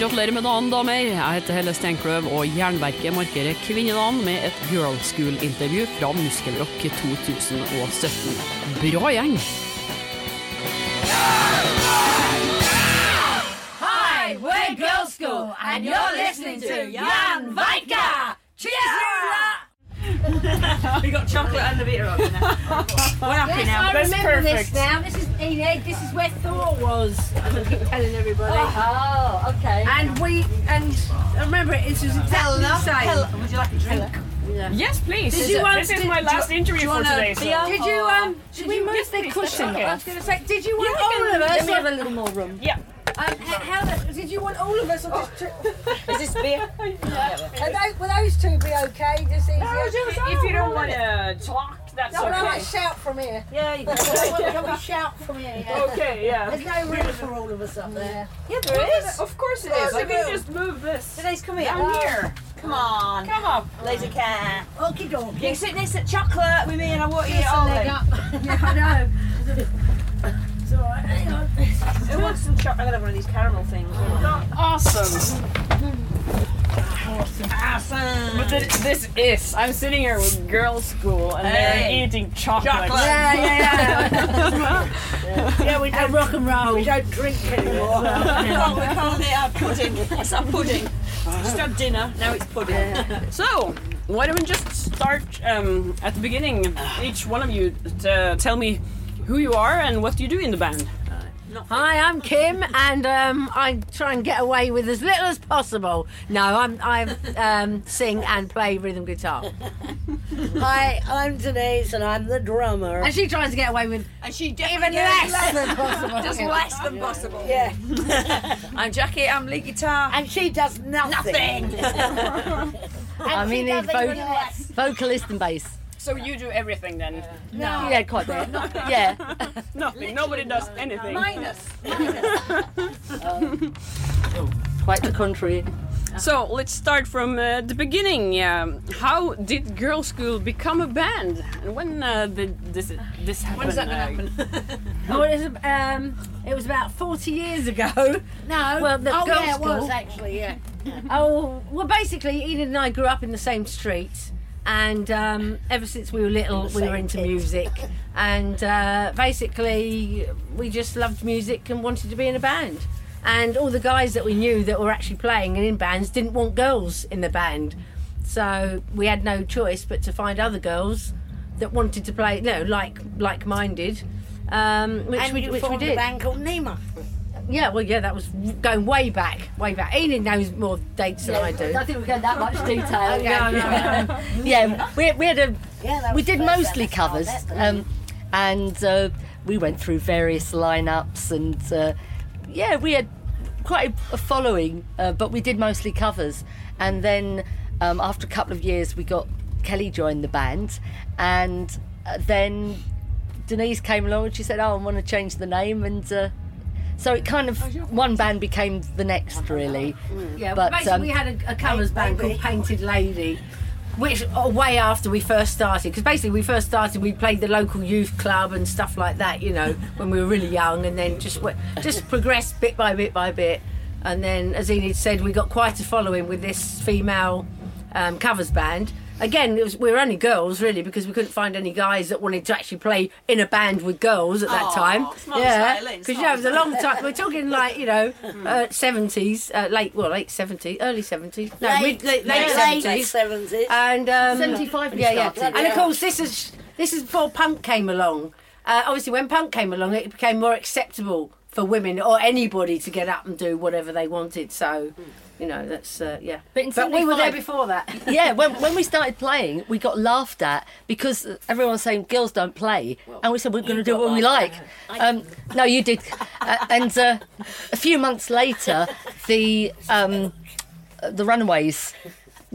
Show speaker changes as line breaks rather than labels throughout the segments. Gratulerer med dagen, damer. Jeg heter Helle Steinkløv, og Jernverket markerer kvinnedagen med et Girl School-intervju fra Muskelrock 2017. Bra gjeng!
Hi, we're Girl School, and you're listening to Jan Vika. Cheers!
We got chocolate and the beer on. We're happy
Yes,
now.
I
That's
remember
perfect.
this now. This is Enid. This is where Thor was. I'm gonna keep telling everybody.
Oh, okay.
And we and I remember it. This was exactly the same.
Would you like a drink? Yes, please.
Did
This
you
is-
want
this is
to-
my
do-
last interview
you
for
wanna
be
today. So.
a-
Did you um? Did we
Yes,
move the
please,
cushion?
okay.
I was going to say. Did you want all of
Let
us?
me have a little more room.
Yeah.
Um, h- how the, did you want all of us or just two?
Is this beer?
Are those, will those two be okay? Just easier.
If you don't want to talk, that's
No, but I
okay.
might shout from here.
Yeah, you can.
Can we shout from here? yeah?
Okay, yeah.
There's no room for all of us up there.
Yeah, there is.
Of course it
Close
is. I
the
can
room.
just move this.
Today's come here.
Down here.
Come on.
Come up.
Lazy cat.
Okie dokie.
You can sit next to chocolate with me and I won't eat it all
Leg
day.
up. yeah, I know. It's all right. Hang on.
Who wants some chocolate? I'm going to have one of these caramel things.
Awesome.
Awesome.
But th- this is. I'm sitting here with girls' school and
Hey.
they're eating chocolate.
Chocolate.
Yeah, yeah, yeah.
yeah, we
And rock and roll. We don't drink anymore.
Oh, we're calling it our pudding. It's our pudding. Just had dinner, now it's pudding.
So, why don't we just start um, at the beginning? Each one of you to tell me who you are and what you do in the band.
Hi, I'm Kim, and um, I try and get away with as little as possible. No, I'm I um, sing and play rhythm guitar,
Hi, I'm Denise and I'm the drummer.
and she tries to get away with
And she definitely
even less than possible.
Just less than possible.
Yeah,
I'm Jackie, I'm lead guitar.
and she does nothing.
Nothing.
I mean, it's
even
vo-
less.
vocalist and bass.
So you do everything then?
Yeah, quite a bit. Yeah.
Nothing. Nobody does anything.
Minus.
Quite the country.
So let's start from uh, the beginning. Um, how did Girl School become a band, and when uh, did this this happen? When is that gonna happen?
Oh, it was, um, it was about 40 years ago. No. Well, the girls'
Oh, yeah, it
school.
was actually, yeah.
Oh, well, basically, Enid and I grew up in the same street, and um, ever since we were little, we
same
were into
pit.
music. And uh, basically, we just loved music and wanted to be in a band. And all the guys that we knew that were actually playing and in bands didn't want girls in the band. So we had no choice but to find other girls that wanted to play, no, like like minded, um, which
and
we
you
which we
formed
did.
a band called Nima.
Yeah, well, yeah, that was going way back, way back. Enid knows more dates than I do.
don't think we're going that much detail.
Yeah, yeah.
yeah, we, we had a
Yeah, that
we
was
did
the first
mostly
band that started
covers,
that, but-
um, and uh, we went through various lineups, and uh, yeah, we had quite a, a following, uh, but we did mostly covers. And then um, after a couple of years, we got Kelly joined the band, and uh, then Denise came along and she said, "Oh, I want to change the name," and uh, so it kind of one band became the next, really.
Oh, yeah,
But,
basically
um,
we had a, a covers band called Painted Lady, which oh, way after we first started, because basically we first started, we played the local youth club and stuff like that, you know, when we were really young, and then just went, just progressed bit by bit by bit, and then as Enid said, we got quite a following with this female um, covers band. Again, it was, we were only girls really because we couldn't find any guys that wanted to actually play in a band with girls at that
Aw,
time.
smart styling,
because you know
smart
it was a long time. We're talking like you know seventies, uh, late well late seventies, early seventies, no mid late
late
seventies,
70s.
and um,
75 we
yeah, yeah.
started.
And of course, this is this is before punk came along. Uh, obviously, when punk came along, it became more acceptable for women or anybody to get up and do whatever they wanted. So, you know, that's uh, yeah.
But in
we were there
75
before that.
yeah, when, when we started playing, we got laughed at because everyone was saying girls don't play, and we said we're going to do what we like. Um, no, you did. Uh, and uh, a few months later, the um, uh, the Runaways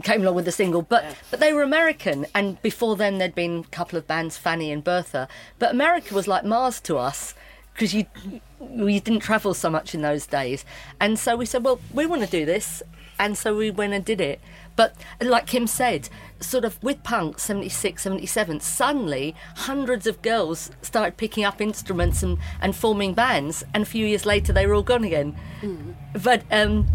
came along with a single, but but they were American, and before then there'd been a couple of bands, Fanny and Bertha, but America was like Mars to us because you you didn't travel so much in those days, and so we said, well, we want to do this, and so we went and did it. But like Kim said, sort of with punk 76, 77, suddenly hundreds of girls started picking up instruments and, and forming bands, and a few years later they were all gone again. But um,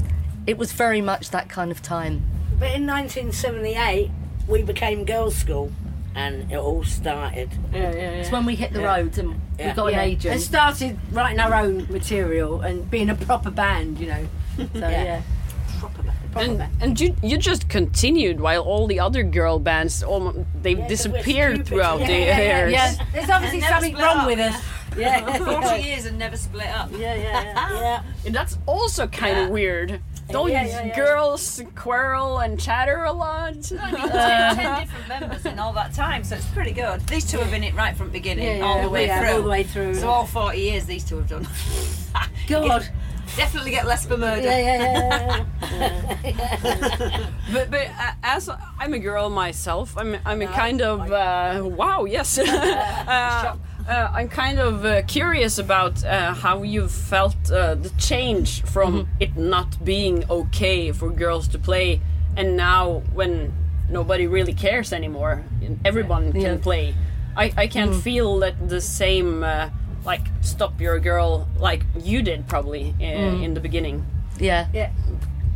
it was very much that kind of time.
But in 1978, we became girls' school, and it all started.
Yeah, yeah, yeah.
It's when we hit the road and we
Yeah.
got
Yeah,
an agent.
and started writing our own material and being a proper band, you know. So yeah, proper band. Proper
And,
band.
and you you just continued while all the other girl bands almost they
the West
disappeared
Cupid.
throughout
Yeah,
the
yeah, yeah,
years.
Yeah, there's obviously
And never
something
split
wrong
up.
with us.
Yeah,
40 years and never split up.
yeah, yeah, yeah.
And that's also kind of weird. Don't
yeah, yeah, yeah.
girls quarrel and chatter a lot?
Ten different members in all that time, so it's pretty good. These two have been it right from beginning, all the way
yeah,
through.
all the way through.
So all 40 years these two have done.
God.
Definitely get less for murder.
Yeah, yeah, yeah.
But, but uh, as I'm a girl myself, I'm I'm a kind of uh, wow, yes. uh, uh, I'm kind of uh, curious about uh, how you felt uh, the change from
Mm-hmm.
it not being okay for girls to play, and now when nobody really cares anymore, and everyone can
Yeah. Mm-hmm.
play. I, I can feel that the same uh, like stop your girl like you did probably uh,
Mm-hmm.
in the beginning
yeah.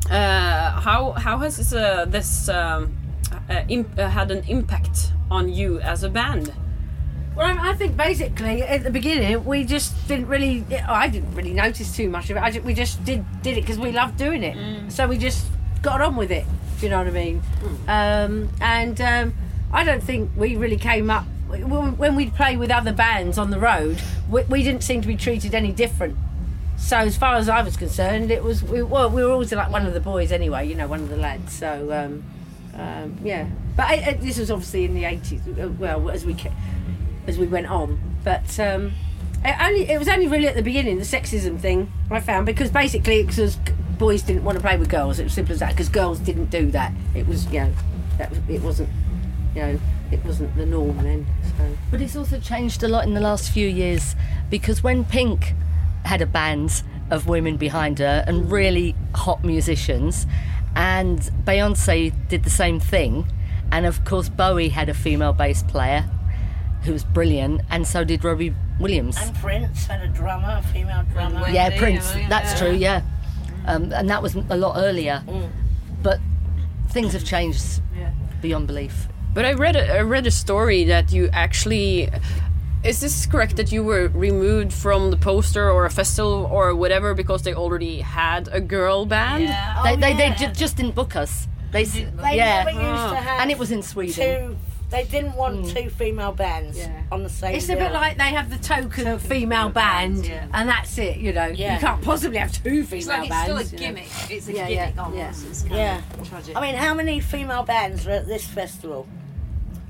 uh, how how has this, uh, this um, uh, imp- uh, had an impact on you as a band?
Well, I, I think basically at the beginning we just didn't really. I didn't really notice too much of it. I ju- we just did did it because we loved doing it. So we just got on with it. Do you know what I mean? Um, and um, I don't think we really came up when when we'd play with other bands on the road. We, we didn't seem to be treated any different. So as far as I was concerned, it was we, well, we were always like one of the boys anyway. You know, one of the lads. So. Um, um, yeah, but I, I, this was obviously in the eighties. uh, Well, as we ca- as we went on, but um, it only it was only really at the beginning the sexism thing I found because basically it was boys didn't want to play with girls. It was simple as that because girls didn't do that. It was you know that was, it wasn't you know it wasn't the norm then. So
But it's also changed a lot in the last few years because when Pink had a band of women behind her and really hot musicians, and Beyonce did the same thing, and of course Bowie had a female bass player who was brilliant, and so did Robbie Williams.
And Prince had a drummer, a female drummer.
Wendy,
yeah, Prince.
Emily,
That's true. Yeah, um, and that was a lot earlier, but things have changed beyond belief.
But I read a, I read a story that you actually is this correct that you were removed from the poster or a festival or whatever because they already had a girl band?
Yeah.
they they, they ju- just didn't book us. They, s-
Oh, They
yeah,
never used
Ah.
to have
and it was in Sweden.
two. They didn't want two female bands on the same.
Hmm. it's a bit
bill.
like they have the token of female band, and that's it. You know,
Yeah.
you can't possibly have two female
It's like it's
bands.
still a
you know.
gimmick. It's a
Yeah, yeah,
gimmick almost.
yeah.
It's kind
Yeah.
of tragic.
I mean, how many female bands were at this festival?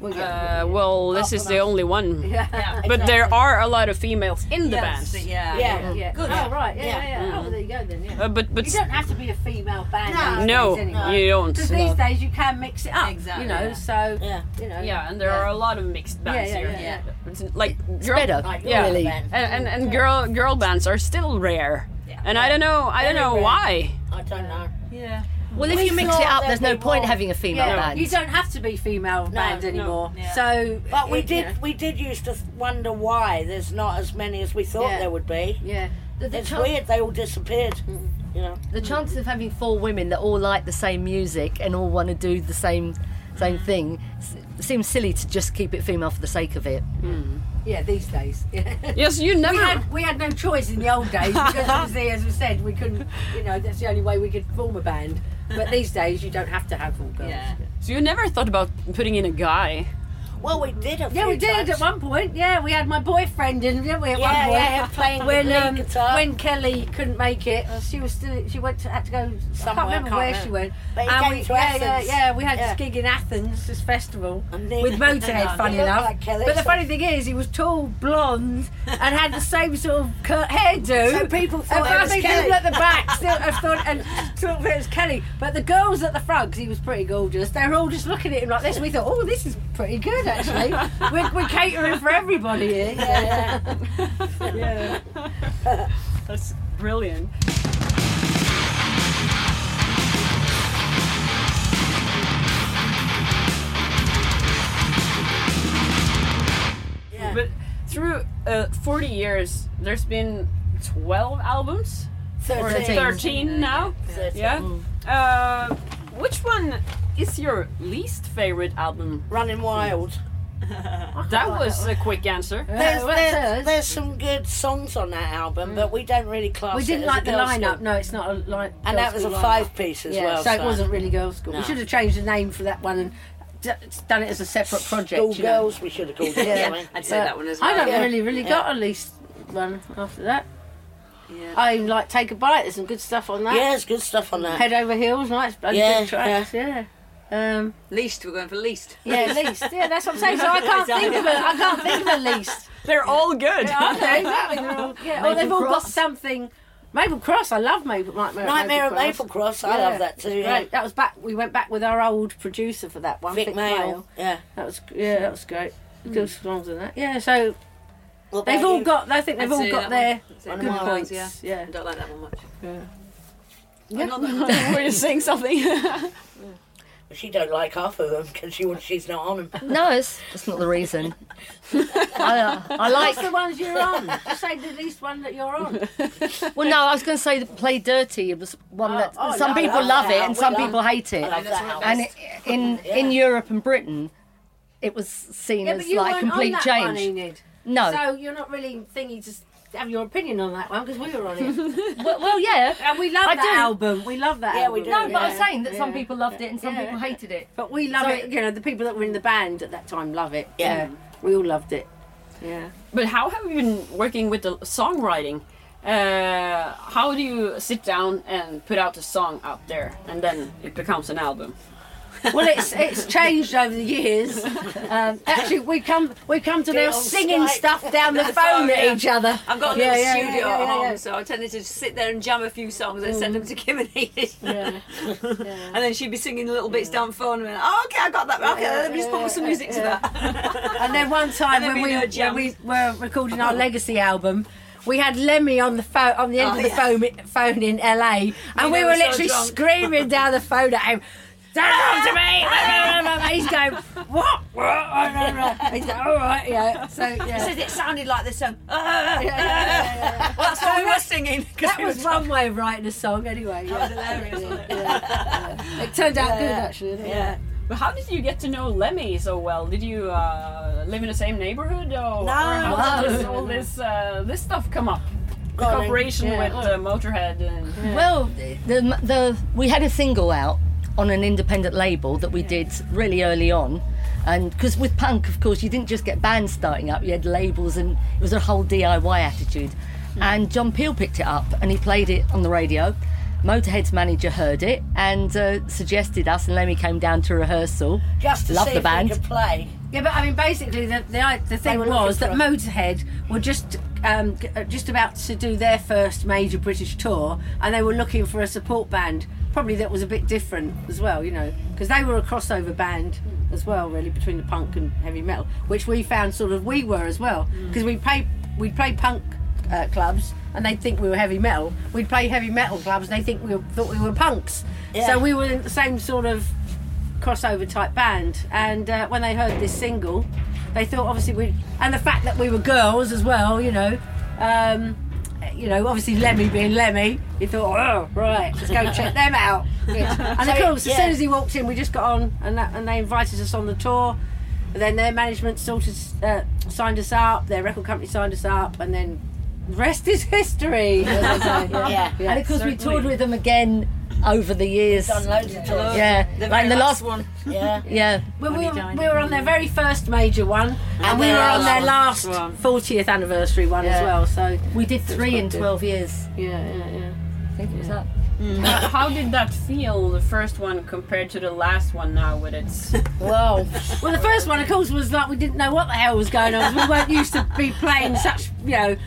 Well, yeah.
Uh, well, this is the only one.
Yeah,
But there are a lot of females in the
Yes,
band.
yeah.
Yeah,
yeah.
Good.
Oh right, yeah, yeah. yeah.
Yeah.
Oh, well, there you go then. Yeah.
Uh, but but
You don't have to be a female band. these
no,
days anyway.
you don't.
Because these days you can mix it up.
Exactly,
You know,
yeah.
so
Yeah.
you know.
Yeah, and there are a lot of mixed bands
yeah,
here.
yeah,
yeah.
It's like it's
better,
yeah.
really.
And, and and girl girl bands are still rare. And I don't know I don't
Very
know
rare.
why.
I don't know.
Yeah.
Well, if
We
you mix
thought
it up,
that
there's no
we
point
were-
having a female
Yeah,
band.
you don't have to be female band
no.
anymore.
Yeah.
So,
But we
it-
did.
you know,
We did used to wonder why there's not as many as we thought
Yeah.
there would be.
yeah,
The- the
It's
chan-
weird. They all disappeared. You know.
the chances of having four women that all like the same music and all want to do the same same thing s- seems silly to just keep it female for the sake of it.
yeah. These days, yeah.
Yes, you
we
Oh.
never.
had we had no choice in the old days because obviously, as we said, we couldn't. You know, that's the only way we could form a band. But these days, you don't have to have all girls.
Yeah.
So you never thought about putting in a guy.
Well, we did a
Yeah,
few
we did
times.
at one point. Yeah, we had my boyfriend in, didn't we? At
Yeah,
one point,
yeah, playing
when
lead
um,
guitar.
when Kelly couldn't make it, uh, she was still she went to, had to go somewhere.
Somewhere,
I can't remember
can't
where
remember.
she went.
But he
And
came
we,
to
yeah,
Athens.
yeah, yeah, we had this
Yeah.
gig in Athens, this festival
And then-
with Motorhead. funny
He looked
enough,
like Kelly,
but the
so-
funny thing is, he was tall, blonde, and had the same sort of cur- hairdo.
So people
And
thought it was
people
Kelly.
at the back still have thought and thought it was Kelly, but the girls at the front, 'cause he was pretty gorgeous, they were all just looking at him like this. We thought, oh, this is pretty good actually. we're, we're catering for everybody here. Uh,
Yeah, yeah.
That's brilliant. But through uh, 40 years, there's been 12 albums.
Thirteen.
13 now. Yeah. Uh, which one is your least favorite album?
Running Wild.
That was a quick answer.
Uh,
There's,
what's
there's,
hers?
there's some good songs on that
Mm.
album, but we don't really class
We
it
didn't
as
like
a
the
girls'
lineup.
school.
No, it's not a line.
And that was a five piece as
Yeah,
well.
so it wasn't really girls' school.
No.
We should have changed the name for that one and d- done it as a separate project.
School
you know.
Girls, we should have called it.
Yeah.
anyway.
I'd say
But
that one as well.
I don't
yeah.
really, really
Yeah.
got a least one after that.
Yeah.
I like Take a Bite. There's some good stuff on that.
Yeah, there's good stuff on that.
Head over heels, nice bloody
Yeah,
good tracks. Yeah. Um,
Least, we're going for least.
yeah, least. Yeah, that's what I'm saying. So I can't think of it. I can't think of the least.
They're all good.
Okay, exactly. They're all- Yeah, or they've all got something. Maple Cross. I love Maple Nightmare. at
Nightmare at
Cross.
Maple Cross, I love that too. Yeah.
Great. That was back. We went back with our old producer for that one,
Vic Mail. Yeah. Hmm.
That was yeah, that was great. Good songs in that. Yeah, so
What
they've
about
all
you?
got. I think they've
I'd
all
say
got their
that one. I'd say
good
Wild
points.
Ones, yeah.
yeah.
I don't like that one much.
Yeah.
Were you saying something?
She don't like half of them because she, she's not on them.
No, it's, that's not the reason. I, uh, I like.
What's the ones you're on? Just say the least one that you're on.
Well, no, I was going to say that Play Dirty was one
Oh,
that
oh,
some
yeah, I
people
love
love
that.
it and
We
some
love-
people hate it.
Love that album.
And it, in in Europe and Britain, it was seen
Yeah, but
as
you
like
weren't
complete
on that one,
change.
Enid.
no,
So you're not really thingy to have your opinion on that one because we were on it
well, well, yeah.
and we love
I
that
do.
album. We love that.
Yeah, we
album.
do.
No, but I'm
Yeah,
saying that some
yeah.
people loved it and some
Yeah.
people hated it.
But we love
So-
it. You know, the people that were in the band at that time love it.
Yeah.
we all loved it. Yeah.
But how have you been working with the songwriting? Uh, how do you sit down and put out a song out there, and then it becomes an album?
Well, it's it's changed over the years. Um, actually, we come we come to now
on
singing
Skype.
stuff down the phone
right, yeah.
at each other.
I've got a
Yeah,
little
yeah, yeah,
studio
yeah,
at
yeah,
home,
yeah. Mm.
so I tended to just sit there and jam a few songs and send them to Kim and Edith. and then she'd be singing little bits down phone and oh, okay, I got that. Okay, let me just put some music to that.
And then one time
And
when
then we
we,
Oh. do a
when
jam.
we were recording our legacy album. We had Lemmy on the phone on the end
Oh,
of the
yeah.
phone phone in LA, and we,
know
were
we're so
literally
drunk.
screaming down the phone at him. Don't come to me! He's going, what? what? He's like, all right, yeah. So yeah.
Says it sounded like the song.
yeah,
well, that's what we were singing. 'cause
That
we
was
were
one way of writing a song, anyway. yeah.
hilarious. wasn't it?
It turned out good, actually. Didn't
Yeah.
But how did you get to know Lemmy so well? Did you uh, live in the same neighborhood, or, or how did this, all this uh, this stuff come up? The
on then.
cooperation with uh, Motorhead and
Well, the, the we had a single out on an independent label that we did really early on, and because with punk, of course, you didn't just get bands starting up; you had labels, and it was a whole DIY attitude.
Hmm.
And John Peel picked it up and he played it on the radio. Motorhead's manager heard it and uh, suggested us, and Lemmy came down to rehearsal.
Just to
Love
see
the
if
band.
we could play.
Yeah, but I mean, basically, the the, the thing
were
was that
looking
Motorhead were just um, g- uh, just about to do their first major British tour, and they were looking for a support band, probably that was a bit different as well, you know, because they were a crossover band as well, really between the punk and heavy metal, which we found sort of we were as well,
Mm.
because we play we play punk uh, clubs. And they'd think we were heavy metal. We'd play heavy metal clubs, and they think we were, thought we were punks. So we were in the same sort of crossover type band. And uh, when they heard this single, they thought obviously we and the fact that we were girls as well, you know, um, you know, obviously Lemmy being Lemmy, he thought, oh right, let's go check them out. And of course, as soon as he walked in, we just got on, and that, and they invited us on the tour. And then their management sorted uh, signed us up, their record company signed us up, and then. the Rest is history. as they say.
Yeah.
and of course, we toured with them again over the years.
Done loads of tours.
Yeah,
The
like
very
the last
last one.
Yeah.
Yeah,
Well, we, were, we were on their very first major one, and we were on their last 40th anniversary one as
Yeah.
well. So
we did three in
good.
twelve years.
yeah, yeah, yeah.
I think it was that.
Uh, how did that feel, the first one compared to the last one now with its
Wow.
Well, the first one, of course, was like we didn't know what the hell was going on. 'cause We weren't used to be playing such, you know,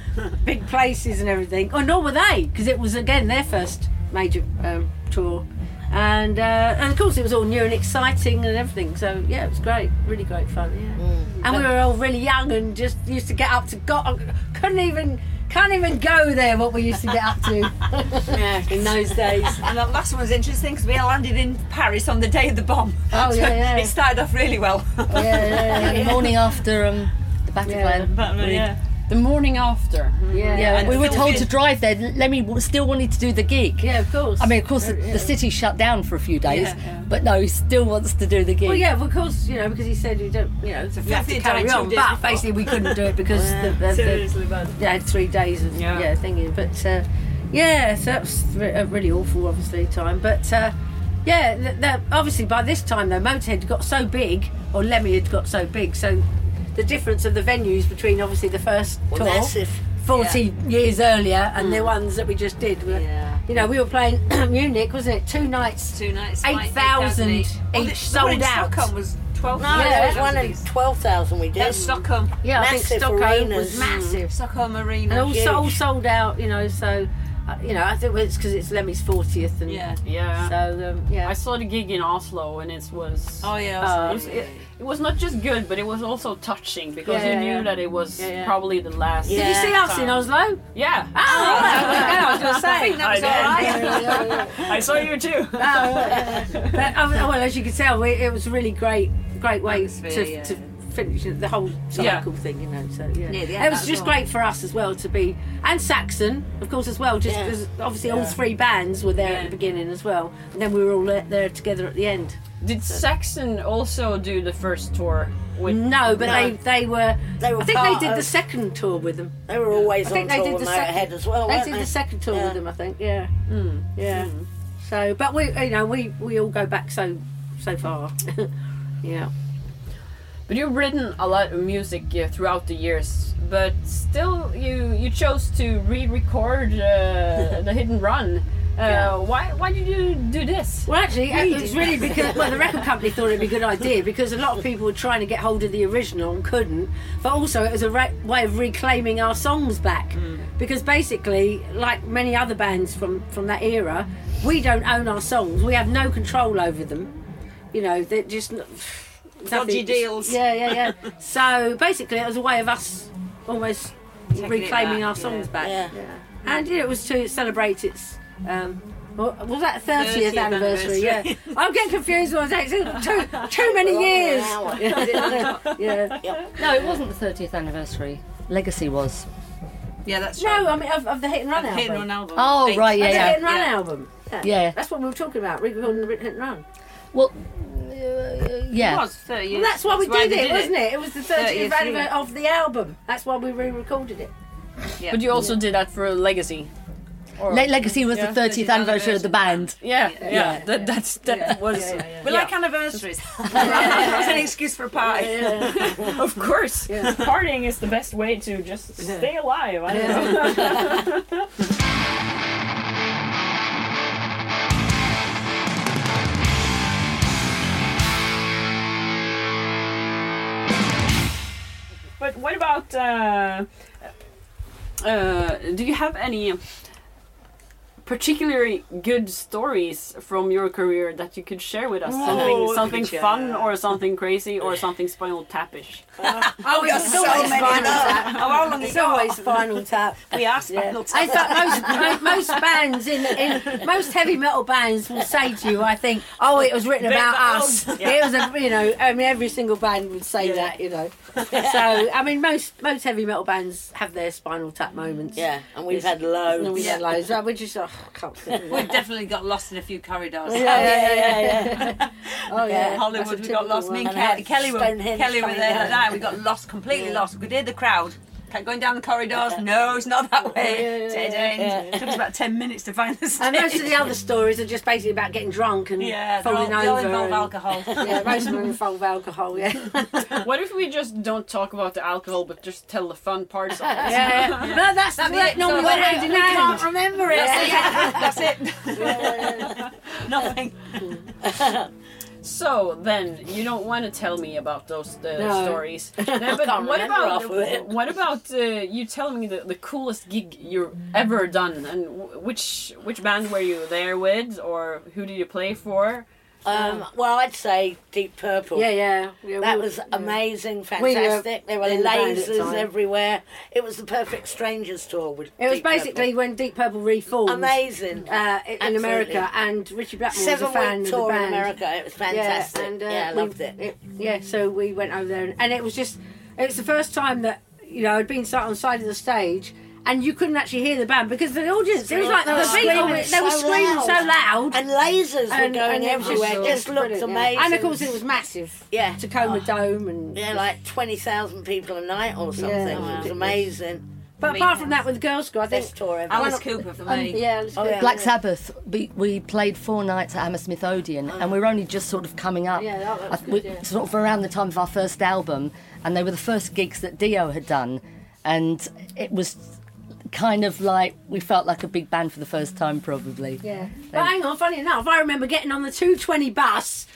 big places and everything. Or nor were they, because it was again their first major um, tour, and uh, and of course it was all new and exciting and everything. So yeah, it was great, really great fun. Yeah, and we were all really young and just used to get up to go. Couldn't even. Can't even go there. What we used to get up to
Yeah.
in those days.
And that last one was interesting because we landed in Paris on the day of the bomb.
Oh,
So
yeah, yeah.
It started off really well.
Yeah, yeah, yeah.
the morning after um, the
Yeah.
Bataclan.
Batman,
we
yeah.
The morning after.
Yeah,
And
we were
Phil
told
did-
to drive there. Lemmy w- still wanted to do the gig.
Yeah, of course.
I mean, of course, the, the city shut down for a few days,
Yeah, yeah.
but no, he still wants to do the gig.
Well, yeah, of course, you know, because he said we don't, you know, it's a fact
they
to
died
carry
two
on.
days
But
before.
basically, we couldn't do it because the, the, the,
Seriously, man.
they had three days of
Yeah.
yeah, thingy. But uh, yeah, so that was re- a really awful, obviously, time. But uh, yeah, th- that, obviously by this time though, Motorhead had got so big, or Lemmy had got so big, so the difference of the venues between obviously the first
Well,
tour,
that's if.
forty years earlier, and the ones that we just did. Were,
Yeah.
You know, we were playing Munich, wasn't it? Two nights,
Two nights. like,
eight thousand
8,000
each
Well, the- Oh, the one
sold
in
out.
Stockholm was 12.
No,
Yeah,
there was one in
That
12,000 we did.
was Stockholm.
Yeah, I think
Massive
Stockholm was
arenas.
massive.
Stockholm
and
Arena.
all,
huge.
all sold out, you know. So, uh, you know, I think it's because it's Lemmy's fortieth, and
Yeah.
Yeah.
so um,
I
yeah,
saw the gig in Oslo and it was
Oh, yeah.
Uh,
it was- it-
it was not just good but it was also touching because
Yeah,
you
yeah,
knew
yeah.
that it was
Yeah, yeah.
probably the last
Did you see us in
time.
Oslo?
Yeah.
Oh, yeah, I was going to
I
say.
think that was
I did.
alright.
I saw you too.
But, um, well, as you can tell, we, it was a really great, great way
Atmosphere,
to,
yeah.
to finish the whole cycle thing, you know. So yeah,
Near the
it
end,
was
that
just
was all.
great for us as well to be, and Saxon, of course, as well. Just
Yeah.
because obviously all three bands were there at the beginning as well, and then we were all there- there together at the end.
Did Saxon also do the first tour with
No, but
No.
they they were.
They were
I think
part
they did the
of-
second tour with them.
They were always
I think they
on tour
did
with
the
Motorhead
second-
as well,
They
weren't
did
they?
the second tour
Yeah. Hmm.
with them, I think. Yeah, yeah. So, but we, you know, we we all go back so so far. yeah.
But you've written a lot of music uh, throughout the years, but still you you chose to re-record uh, the Hidden Run. Uh, Why why did you do this?
Well, actually, it was really because well, the record company thought it'd be a good idea because a lot of people were trying to get hold of the original and couldn't. But also, it was a re- way of reclaiming our songs back
Hmm.
because basically, like many other bands from from that era, we don't own our songs. We have no control over them. You know, they're just n-
Dodgy
nothing-
deals.
Yeah, yeah, yeah. so basically, it was a way of us almost
it
reclaiming
back,
our songs
yeah.
back.
Yeah.
And yeah, it was to celebrate its. Um, what- was that 30th,
30th
anniversary?
anniversary.
Yeah, I'm getting confused. When I say it's too too many years.
Hour.
yeah.
No, it wasn't the 30th anniversary. Legacy was.
Yeah, that's
No,
right.
I mean of, of the hit and run album.
Hit and run album.
Oh,
Thanks.
right, yeah,
Of the
yeah.
hit and run
Yeah.
album.
Yeah.
That's what we were talking about. Recording the hit and run.
Well, uh,
It
yeah.
was 30
Well,
years.
that's why we did
they
it, wasn't it? It was the 30th
30th
anniversary of the album. That's why we re-recorded it.
Yeah.
But you also did that for Legacy. Or,
Le- Legacy was
Yeah.
the 30th anniversary of the band.
yeah, yeah, That that's that was
We like anniversaries. it's an excuse for a party.
of course partying is the best way to just stay alive. I don't know. But what about? Uh, uh, do you have any particularly good stories from your career that you could share with us?
Oh,
Something, something
good
fun,
job.
or something crazy, or something spinal tapish.
Oh, we got
it's
so
always
many.
final
now. Oh, how long
It's
you got?
always final tap.
We are spinal
In
tap.
fact, most, mo- most bands in, in most heavy metal bands will say to you, "I think, oh, it was written about us." It was, a, you know, I mean, every single band would say that, you know. So, I mean, most most heavy metal bands have their Spinal Tap moments.
Yeah, and
Yes.
we've had
and
loads.
we had loads. We're just, oh, I can't think of
We've
it.
definitely got lost in a few corridors.
Yeah, yeah, yeah, Oh yeah,
Hollywood,
That's a
we got
typical
lost. Me and
one.
Ke- Kelly were,
Stonehenge
Kelly were
coming
there the other
down.
night. We got lost, completely lost. We could hear the crowd. Kept going down the corridors. No, it's not that way. Dead end. Took us about 10 minutes to find the stage.
And most of the other stories are just basically about getting drunk and
yeah, they all,
falling
they
over.
all involve
and-
alcohol.
Yeah, most of them involve alcohol. Yeah.
What if we just don't talk about the alcohol, but just tell the fun parts? Of it?
Yeah, yeah. No, that's that
makes
normally
sense.
went hand in
We
hand.
can't
remember it.
That's it. Nothing.
So then, you don't want to tell me about those uh,
No.
stories. No, but
can't
what
remember half
about
of it.
what about uh, you telling me the, the coolest gig you've ever done, and wh- which which band were you there with, or who did you play for?
Um, well, I'd say Deep Purple.
Yeah, yeah. yeah
That
we-
was
yeah.
amazing,
We were
fantastic. there were
in the band at the
lasers
time.
everywhere. It was the perfect strangers tour. With
It was
Deep Purple.
basically when Deep Purple reformed
amazing.
uh, in
Absolutely.
America, and Richie Blackmore
Seven
was a fan
week
of
tour
the
in
band.
America. It was
Yeah,
fantastic. Yeah,
and uh,
I
we-
loved it.
Yeah, so we went over there, and, and it was just—it's the first time that you know, I'd been sat on the side of the stage. And you couldn't actually hear the band because the audience, it was like
They
the
were
people,
screaming
they were
so
screaming so
loud.
loud.
And lasers
And-
were going
and it was
everywhere.
just-
just looked
brilliant, yeah.
amazing.
And of course, it was massive.
Yeah. Oh.
Tacoma Dome and.
yeah, like twenty thousand people a night or something.
Oh,
It was amazing.
But apart from that, with the girls' school, I think.
Best tour ever.
Alice Cooper for me.
um, Oh, Yeah, it was good.
Black Sabbath, we, we played four nights at Hammersmith Odeon, and we were only just sort of coming up.
Oh. Yeah, that was
I- we- Sort of around the time of our first album, and they were the first gigs that Dio had done, and it was kind of like we felt like a big band for the first time, probably.
Yeah. But hang on, funny enough, I remember getting on the 220 bus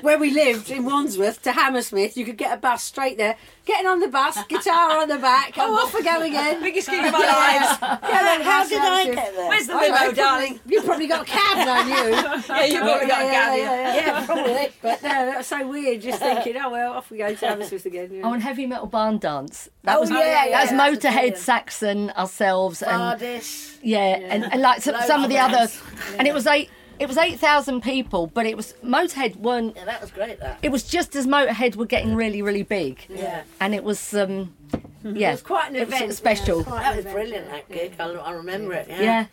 where we lived in Wandsworth to Hammersmith. You could get a bus straight there. Getting on the bus, guitar on the back, oh, off we go again.
Biggest gig of my life.
Yeah,
How did I get there?
Oh,
Where's the limo, darling?
You probably got a cab, don't you?
Yeah, you've probably got a
yeah,
gap.
yeah, yeah, probably. But no, that was so weird. Just thinking, oh well, off we go to Hammersmith again.
Oh, and heavy metal barn dance. That
Oh,
was
yeah, yeah,
that was
yeah, that's
Motorhead,
brilliant.
Saxon, ourselves, and
Hardest.
yeah, And, and like some,
Loads
some of the
of
others. And it was eight it was eight thousand people, but it was Motorhead weren't
Yeah, that was great. That.
it was just as Motorhead were getting really, really big.
Yeah.
And it was, um, yeah.
It was quite an
it was
event.
special.
yeah, it quite an
That was
event.
brilliant. That gig. I, I remember it. Yeah.
yeah.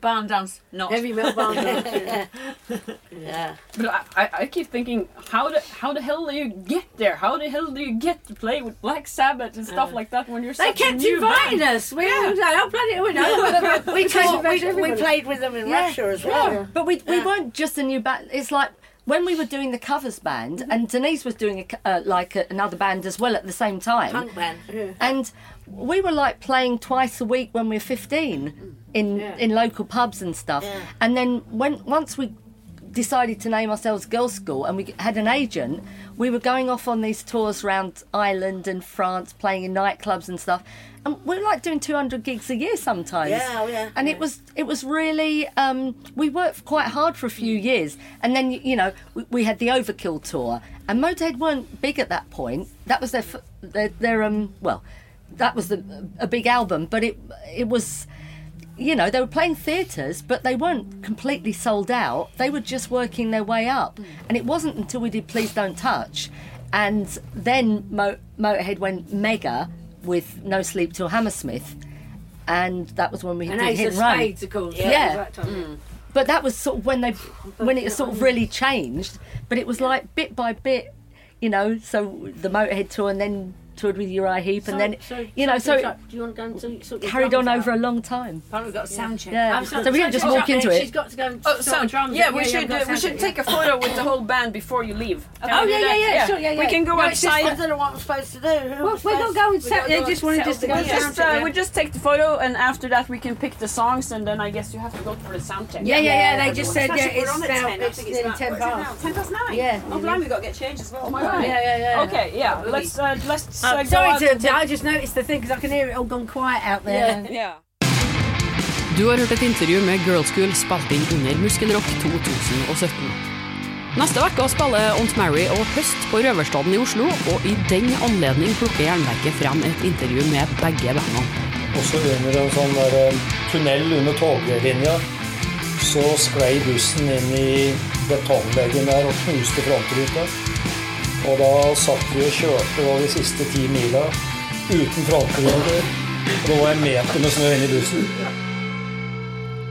Barn dance, not.
Heavy metal barn dance. yeah.
Yeah.
But I, I, I keep thinking, how the how the hell do you get there? How the hell do you get to play with Black Sabbath and stuff like that when you're
Uh, They
such a
kept
new
inviting
band?
us. We were like, oh bloody, we know.
We,
taught- we-
we,
we
played with them in Russia as well.
Yeah. But we, we weren't just a new band. It's like when we were doing the covers band, and Denise was doing a, co- uh, like a, another band as well at the same time.
Punk band.
And we were like playing twice a week when we were 15 in, in local pubs and stuff.
Yeah.
And then when once we decided to name ourselves Girls School and we had an agent, we were going off on these tours around Ireland and France, playing in nightclubs and stuff. And we were like doing 200 gigs a year sometimes.
Yeah, oh, yeah.
And it was it was really um, we worked quite hard for a few years, and then you, you know we, we had the Overkill tour, and Motorhead weren't big at that point. That was their f- their, their um well, that was the, a big album, but it it was you know, they were playing theatres, but they weren't completely sold out. They were just working their way up. And it wasn't until we did Please Don't Touch. And then Mo- Motorhead went mega with No Sleep Till Hammersmith. And that was when we
And
did
Ace
Hit
of
and Run.
Spades, of course.
Yeah. Mm.
it was that time,
But that was sort of when they, when it sort of really changed. But it was like bit by bit, you know, so the Motorhead tour and then toured with Uriah Heep and then, you know, so it
do you want to go and do sort of
carried on
drums
over a long time.
Apparently, we've got a sound check.
Yeah.
out?
So
I'm
we
sorry,
didn't just
she's
walk
got-
into
She's
it.
got to go and
Oh,
sort
sound
of drums.
Yeah,
out.
we
yeah,
should
yeah,
uh, we should take a photo with the whole band before you leave. Can
Oh
we
yeah,
do
yeah,
that?
yeah, sure, yeah, yeah.
We can go
No, it's just-
I
outside.
don't know what I'm supposed to do. Who
Well,
was
we're gonna
supposed-
go and set. They just wanted us to go
We
and sound
just
check.
uh, we just take the photo, and after that we can pick the songs, and then I guess you have to go for the sound check.
Yeah, yeah, yeah. They just said
Actually,
yeah,
we're
it's
on at
now
10, I
it's
think it's
nearly
about-
ten
what is it now?
past.
10 past 9?
Yeah.
Oh, blimey, we've got to get changed as well. Oh, my
Yeah,
God.
yeah, yeah.
uh, Okay, yeah. Let's uh, let's uh,
Uh,
go
sorry
out
to, I just noticed the thing because I can hear it all gone quiet out there.
Yeah.
Du har hørt et intervju med Girlschool spilt inn under Muskelrock 2017. Neste uke spiller Aunt Mary og Høst på Røverstaden i Oslo, og i den anledning plukker Jernverket frem et intervju med begge bandene.
Også under en sånn der eh, tunnel under toglinja, så sklei bussen inn i betongveggen der og knuste frontruta. Og da satt vi og kjørte over de siste ti mila uten frontrute. Og det var en meter med snø inni bussen.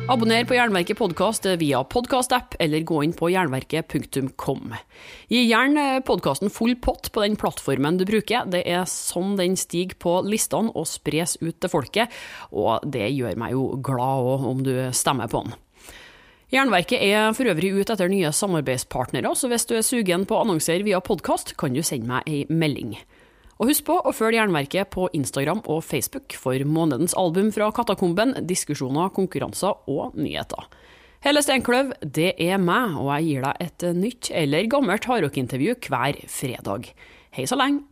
Abonner på Jernverket podkast via podkastapp eller gå inn på jernverket.com. Gi gjerne podkasten full pott på den plattformen du bruker. Det er sånn den stiger på listene og spres ut til folket, og det gjør meg jo glad òg, om du stemmer på den. Jernverket er for øvrig ute etter nye samarbeidspartnere, så hvis du er sugen på å annonsere via podkast, kan du sende meg ei melding. Og husk på å følge Jernverket på Instagram og Facebook for månedens album fra Katakomben, diskusjoner, konkurranser og nyheter. Hele Steinkløv, det er meg, og jeg gir deg et nytt eller gammelt hardrockintervju hver fredag. Hei så lenge!